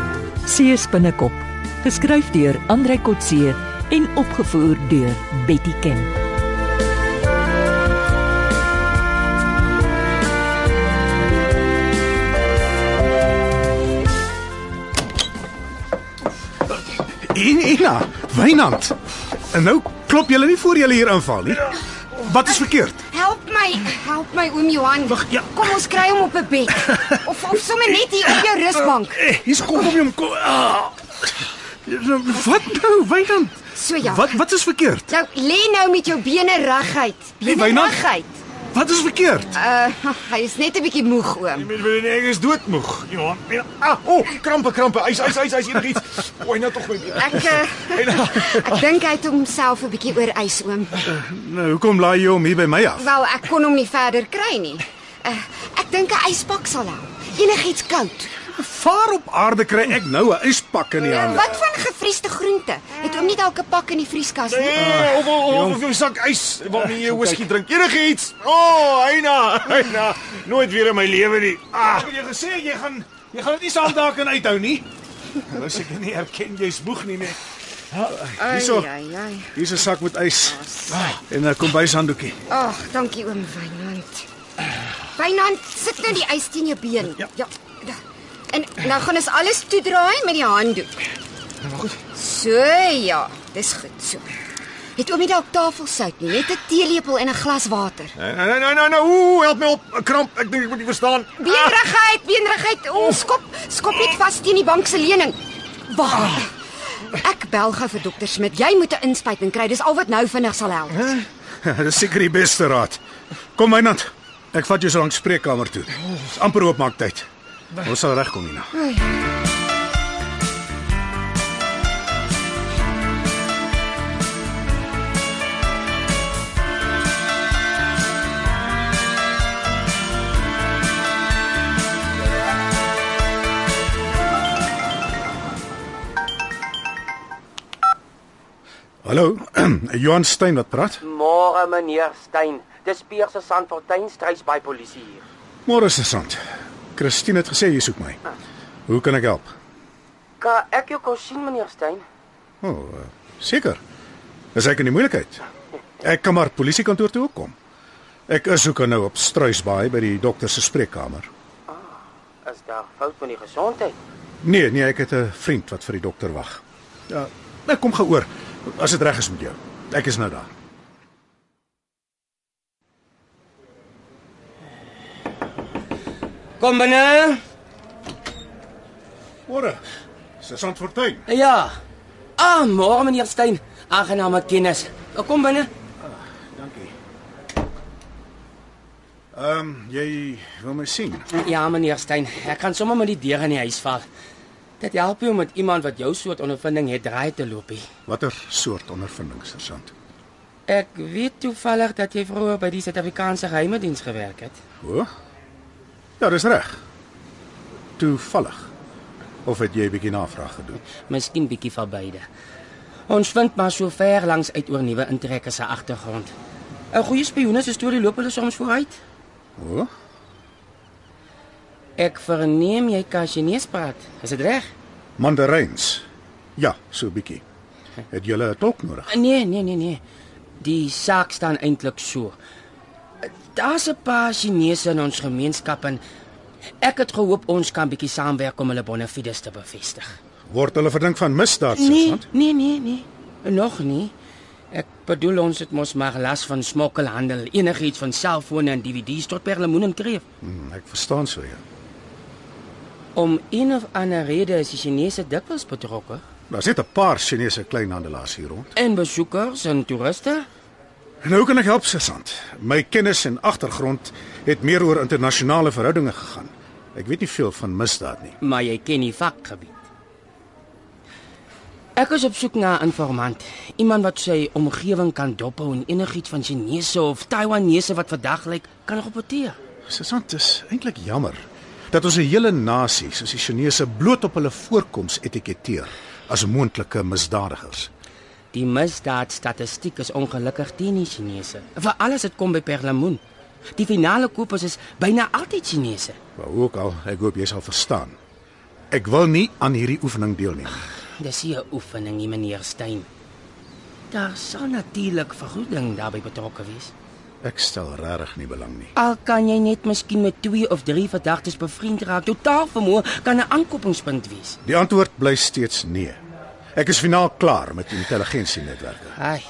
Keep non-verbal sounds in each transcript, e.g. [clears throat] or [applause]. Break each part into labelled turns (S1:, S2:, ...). S1: Kotse se binnekop, geskryf deur Andrei Kotse en opgevoer deur Betty Ken.
S2: En Ina, Wynand. En nou klop julle nie voor julle hier aanval nie. Wat is verkeerd?
S3: Help my, help my oom Johan.
S2: Wag, ja.
S3: Kom ons kry hom op 'n
S2: [laughs]
S3: bed. Of of sommer net hier op jou rusbank.
S2: Eh, hier's kom om hom kom. Ah. Wat nou, Wynand?
S3: So ja.
S2: Wat wat is verkeerd?
S3: Nou lê nou met jou bene
S2: Hey,
S3: reguit. Bene
S2: Wynand.
S3: reguit.
S2: Wat is verkeerd?
S3: Uh, [laughs] hy is net 'n bietjie moeg oom.
S4: Met wil nie eens doodmoeg. Johan. En- Ah, o, oh, krampe, krampe. Hy's hy's hy's hy's enigiets. O, hy nou tog my been.
S3: Ek
S2: [laughs]
S3: uh, [laughs] ek dink hy het homself 'n bietjie oor ys oom.
S2: Nou, hoekom laai jy hom hier by my
S4: Nou,
S2: af?
S3: Wel, ek kon hom nie verder kry nie. Uh, ek dink 'n yspak sal help. Enigiets koud.
S2: Vaar op aarde kry ek nou 'n yspak in die hande.
S3: Eh, Wat van gevriesde groente? Het oom nie dalk 'n pak in die vrieskas nie?
S2: Nee.
S4: Eh, Of of- of of jou sak ys waarmee jy whisky drink. Enigiets. O, oh, Eina, Eina. Nooit weer in my lewe nie. Ah,
S2: het jy gesê jy gaan jy gaan dit nie saam daar kan uithou nie.
S4: nou seker nie erken jy's boeg nie meer.
S2: hierso.
S3: Ai, ai, ai.
S2: Hier's 'n sak met ys en 'n kombuishanddoekie.
S3: Ag, dankie oom Wynand. Wynand, sit nou die ys teen jou been.
S2: Ja.
S3: da. En nou gaan ons alles toedraai met die handdoek.
S4: Nou, Maar goed.
S3: So ja, dis goed so. Het oom nie dalk tafelsout nie, net 'n teelepel en 'n glas water.
S4: Nou
S2: Nee,
S4: nou nou nou nou. Ooh, help my op. 'n Kramp. Ek dink ek moet nie verstaan.
S3: Beenrigheid, beenrigheid.
S4: Ah.
S3: O, skop, skop net vas teen die bank se lening.
S4: Ah.
S3: Wag. Ek bel gou vir dokter Smit. Jy moet 'n inspuiting kry. Dis al wat nou vinnig sal help.
S2: [laughs] Dis seker die beste raad. Kom Wynand. Ek vat jou so lank spreekkamer toe. Dis amper oopmaak tyd. Ons sal regkom hierna. Hallo, [clears throat] Johan Stein wat praat?
S5: Môre meneer Stein, dis Piers se Sandfontein strys by polisie hier.
S2: Môre se sand. Christine het gesê jy soek my. Hoe kan ek help?
S5: Kan ek jou kom sien meneer Stein?
S2: O, oh, eh, seker. Is ek in die moeilikheid? Ek kan maar polisiekantoor toe ook kom. Ek is ook nou op Struisbaai by die dokter se spreekkamer.
S5: Is daar fout met die gesondheid?
S2: Nee, nee, ek het 'n vriend wat vir die dokter wag. Ja, ek kom gou oor as dit reg is met jou. Ek is nou daar.
S6: Kom binne.
S2: Môre. Se sand fortuin.
S6: Ja. Ah, môre meneer Stein. Aangename kennis. Kom binne.
S2: Dankie. Ehm, um, jy wil my sien.
S6: Ja, meneer Stein, ek kan sommer met die deur in die huis val. Dit help nie om met iemand wat jou soort ondervinding het draai te loop nie.
S2: Watter soort ondervinding, sergeant?
S6: Ek weet toevallig dat jy vroeër by die Suid-Afrikaanse Geheime Diens gewerk het.
S2: O? Ja, dis reg. Toevallig. Of het jy 'n bietjie navraag gedoen?
S6: Miskien bietjie van beide. Ons vind maar so ver langs uit oor nuwe intrekkers se agtergrond. 'n Goeie spioene se storie loop hulle soms vooruit.
S2: O?
S6: Ek verneem jy kan Chinees praat. Is dit reg?
S2: Mandaryns. Ja, so 'n bietjie. Het jy 'n tolk nodig?
S6: Nee, nee, nee, nee. Die saak staan eintlik so. Daar's 'n paar Chinese in ons gemeenskap en ek het gehoop ons kan bietjie saamwerk om hulle bonafides te bevestig.
S2: Word hulle verdink van misdaad,
S6: Nee,
S2: sergeant?
S6: nee, nee, nee. Nog nie. Ek bedoel ons het mos maar las van smokkelhandel, enigiets van selfone en DVD's tot perlemoen en kreef.
S2: Hm, ek verstaan so ja.
S6: Om een of ander rede is die Chinese dikwels betrokke.
S2: Daar sit 'n paar Chinese kleinhandelaars hier rond.
S6: En besoekers en toeriste?
S2: Nou hoe kan ek help, sergeant. My kennis en agtergrond het meer oor internasionale verhoudinge gegaan. Ek weet nie veel van misdaad nie.
S6: maar jy ken die vakgebied. Ek is op soek na 'n informant, iemand wat sy omgewing kan dophou en enigiets van Chinese of Taiwanese wat vandag lyk kan rapporteer.
S2: Sergeant, dis eintlik jammer dat ons 'n hele nasie soos die Chinese bloot op hulle voorkoms etiketeer as moontlike misdadigers.
S6: Die misdaadstatistiek is ongelukkig teen die Chinese, veral as dit kom by perlemoen. Die finale kopers is byna altyd Chinese.
S2: Maar hoe ook al, ek hoop jy sal verstaan. Ek wil nie aan hierdie oefening deelneem.
S6: Dis nie 'n oefening nie, meneer Stein. Daar sal natuurlik vergoeding daarbey betrokke wees.
S2: Ek stel regtig nie belang nie.
S6: Al kan jy net miskien met 2 of 3 verdagtes bevriend raak, totaal vermoë kan 'n aankopingspunt wees.
S2: Die antwoord bly steeds nee. Ek is finaal klaar met intelligensienetwerke.
S6: Ai.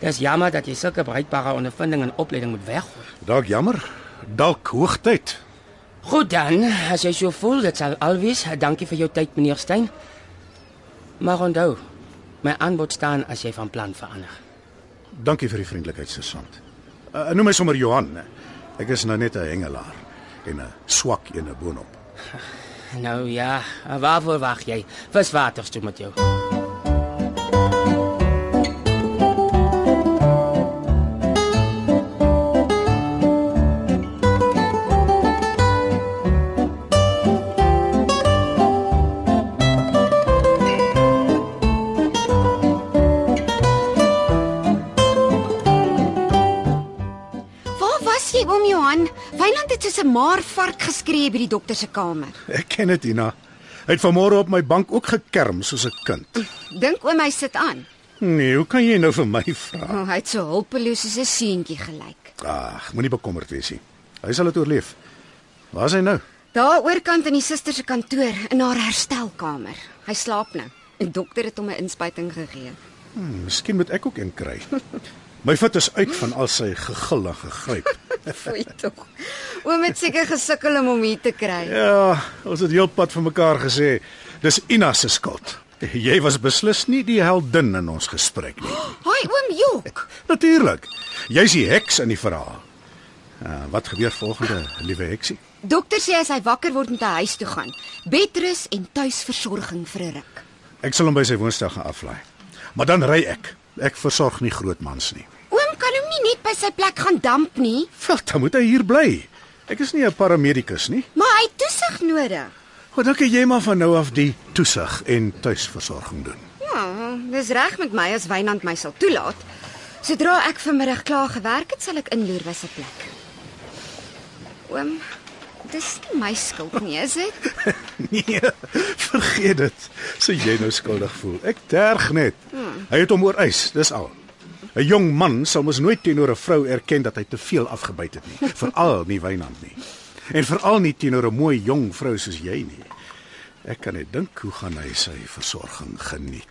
S6: Dis jammer dat jy sulke bruikbare ondervinding en opleiding moet weggooi.
S2: Dalk jammer, dalk hoogtyd.
S6: Goed dan, as jy so voel, dit sal alwees. Dankie vir jou tyd, meneer Stein. Maar onthou, my aanbod staan as jy van plan verander.
S2: Dankie vir die vriendelikheid, sergeant. Uh, noem my sommer Johan. Ek is nou net 'n hengelaar en 'n swak een op boonop.
S6: Nou ja, waarvoor wag jy? Viswaters toe met jou.
S3: Waar was jy, oom Johan? Weiland het soos 'n maar vark geskree by die dokter se kamer.
S2: Ek ken dit, Ina. Hy het vanmôre op my bank ook gekerm soos 'n kind.
S3: Dink oom hy sit aan.
S2: Nee, hoe kan jy nou vir my vra?
S3: Oh, hy het so hulpeloos soos 'n seentjie gelyk.
S2: Ag, moenie bekommerd wees nie. Hy sal dit oorleef. Waar is hy nou?
S3: Daar oorkant in die suster se kantoor in haar herstelkamer. Hy slaap nou. Die dokter het hom 'n inspuiting gegee. [laughs]
S2: Hm, miskien moet ek ook een kry. [laughs] My voet is uit van al sy gegil en gegryp.
S3: Foei tog. Oom het seker gesukkel om hom hier te kry.
S2: Ja, ons het heelpad vir mekaar gesê, dis Ina se skuld. Jy was beslis nie die heldin in ons gesprek nie.
S3: Haai oom Jok.
S2: Natuurlik. Jy's die heks in die verhaal. Uh, wat gebeur volgende, liewe heksie?
S3: Dokter sê as hy wakker word moet hy huis toe gaan. Bedrus en tuisversorging vir 'n ruk.
S2: Ek sal hom by sy woonstel gaan aflaai. Maar dan ry ek. Ek versorg nie groot mans nie.
S3: Oom kan hom nie net by sy plek gaan damp nie,
S2: Wel, dan moet hy hier bly. Ek is nie 'n paramedikus nie.
S3: maar hy het toesig nodig.
S2: Goed, dan kan jy maar van nou af die toesig en tuisversorging doen.
S3: Ja, dis reg met my as Wynand my sal toelaat. Sodra ek vanmiddag klaar gewerk het, sal ek inloer by sy plek. Oom, dis nie my skuld nie, is dit?
S2: [laughs] Nee, vergeet dit. Sê jy nou skuldig voel. Ek terg net. Hy het hom oorwys, dis al. 'n Jong man sal mos nooit teenoor 'n vrou erken dat hy te veel afgebyt het nie, veral nie Wynand nie. En veral nie teenoor 'n mooi jong vrou soos jy nie. Ek kan net dink hoe gaan hy sy versorging geniet.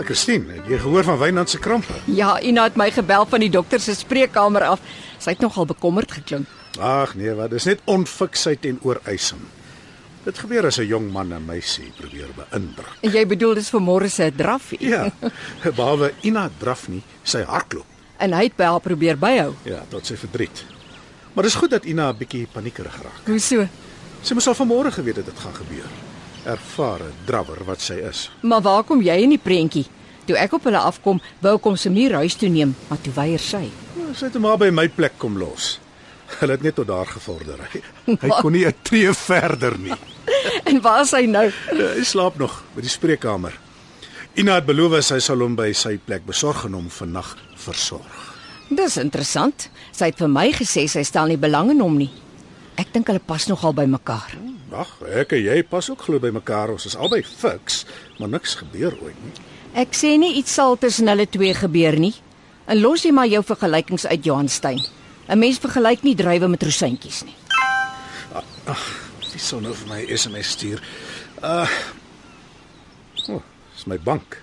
S2: Ek Ah, Christine, het jy gehoor van Wynand se krampe?
S7: Ja, Ina het my gebel van die dokter se spreekkamer af. Sy het nogal bekommerd geklink.
S2: Ag nee, wat, dis net onfiksheid en ooreising. Dit gebeur as 'n jong man 'n meisie probeer beïndruk.
S7: En jy bedoel dis vir môre se drafie?
S2: Ja, behalwe Ina draf nie, sy hardloop.
S7: En hy het by haar probeer byhou.
S2: Ja, tot sy verdriet. Maar dis goed dat Ina 'n bietjie paniekerig raak.
S7: Hoe so?
S2: Sy moes al vanmôre geweet het dit gaan gebeur. Ervare drawwer wat sy is.
S7: Maar waar kom jy in die prentjie? Toe ek op hulle afkom, wou ek hom se muur huis toe neem, maar toe weier sy. [laughs]
S2: Nou, Sy het hom maar by my plek kom los. Hulle het net tot daar gevorder. Hy, hy kon nie 'n tree verder nie.
S7: En waar is hy nou?
S2: Eh, Hy slaap nog by die spreekkamer. Ina het beloof sy sal hom by sy plek besorg en hom vannag versorg.
S7: Dis interessant. Sy het vir my gesê sy stel nie belang in hom nie. Ek dink hulle pas nogal by mekaar.
S2: Wag, ek en jy pas ook glo by mekaar. Ons is albei fiks, maar niks gebeur ooit nie.
S7: Ek sê nie iets sal tussen hulle twee gebeur nie. En los jy maar jou vergelykings uit Johan Stein. 'n Mens vergelyk nie druiwe met rosientjies nie.
S2: Wie sou nou vir my SMS stuur? Uh. O, oh, dis my bank.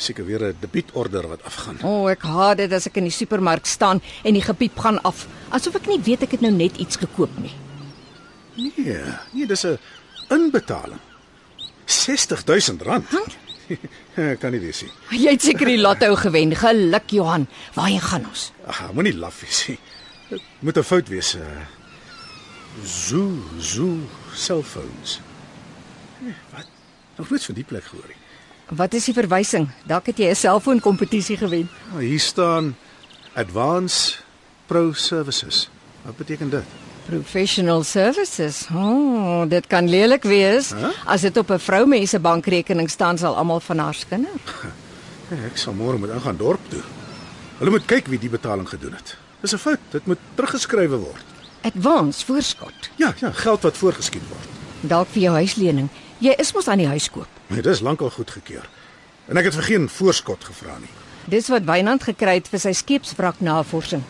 S2: Seker weer 'n debietorder wat afgaan.
S7: O, oh, ek haat dit as ek in die supermark staan en die gepiep gaan af, asof ek nie weet ek het nou net iets gekoop nie. [laughs]
S2: Nee, nee, dis 'n inbetaling. 60000 rand. [laughs] kan nie wees nie.
S7: Jy het seker die lotto gewen. Geluk Johan. Waarheen gaan ons?
S2: Ag, moenie laf wees nie. Dit moet 'n fout wees. Uh. Zoo, zoo selfoons. Nee, wat? Nog nooit van die plek gehoor nie.
S7: Wat is die verwysing? Dalk het jy 'n selfoonkompetisie gewen.
S2: Nou, Hier staan Advanced Pro Services. Wat beteken dit?
S7: Professional services. Oh, dit kan lelik wees. Huh? As dit op 'n vroumens se bankrekening staan, sal almal van haar skinder.
S2: Hey, ek sal môre moet ingaan dorp toe. Hulle moet kyk wie die betaling gedoen het. Dis 'n fout. Dit moet teruggeskrywe word.
S7: Advance voorskot.
S2: Ja, ja, geld wat voorgeskiet word.
S7: Dalk vir jou huislening. Jy is mos aan die huis koop.
S2: Nee, dis lankal goedgekeur. En ek het vir geen voorskot gevra nie.
S7: Dis wat Wynand gekry het vir sy skeepswraknavorsing.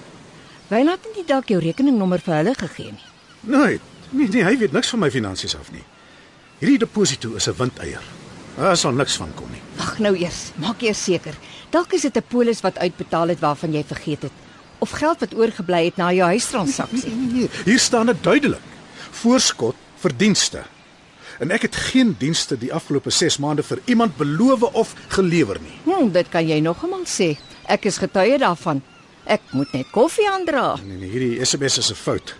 S7: Wynand het nie dalk jou rekeningnommer vir hulle gegee nie.
S2: Nee, nee, nee, hy weet niks van my finansies af nie. Hierdie deposito is 'n windeier. Daar sal niks van kom nie.
S7: Wag nou eers, maak eers seker. Dalk is dit 'n polis wat uitbetaal het waarvan jy vergeet het of geld wat oorgebly het na jou
S2: [laughs]
S7: huistransaksie.
S2: Nee, nee, hier staan dit duidelik. Voorskot vir dienste. En ek het geen dienste die afgelope 6 maande vir iemand beloof of gelewer nie.
S7: Hm, dit kan jy nogal sê. Ek is getuie daarvan. Ek moet net koffie aandra.
S2: Nee, nee, hierdie SMS is 'n fout.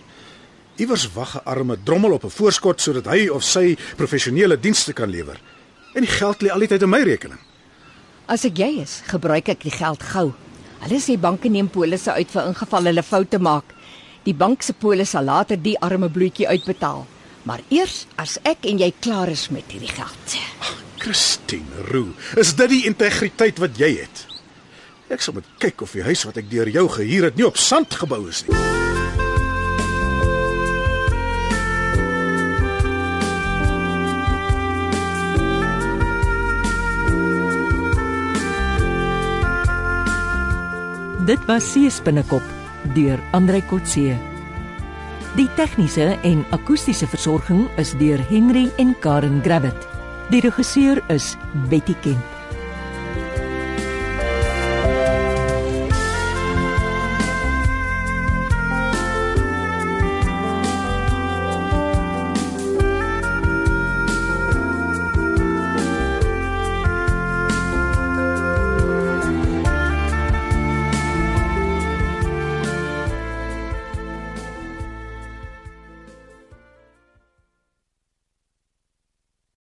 S2: Iewers wag 'n arme drommel op 'n voorskot sodat hy of sy professionele dienste kan lewer. En die geld lê al die tyd in my rekening.
S7: As ek jy is, gebruik ek die geld gou. Hulle sê banke neem polisse uit vir ingeval hulle foute maak. Die bank se polis sal later die arme bloetjie uitbetaal, maar eers as ek en jy klaar is met hierdie geld.
S2: Christine Roo, is dit die integriteit wat jy het? Ek sal moet kyk of die huis wat ek deur jou gehuur het nie op sand gebou is nie.
S1: Dit was Sees binnekop deur Andrei Kotse. Die tegniese en akoestiese versorging is deur Henry en Karen Gravett. Die regisseur is Betty Ken.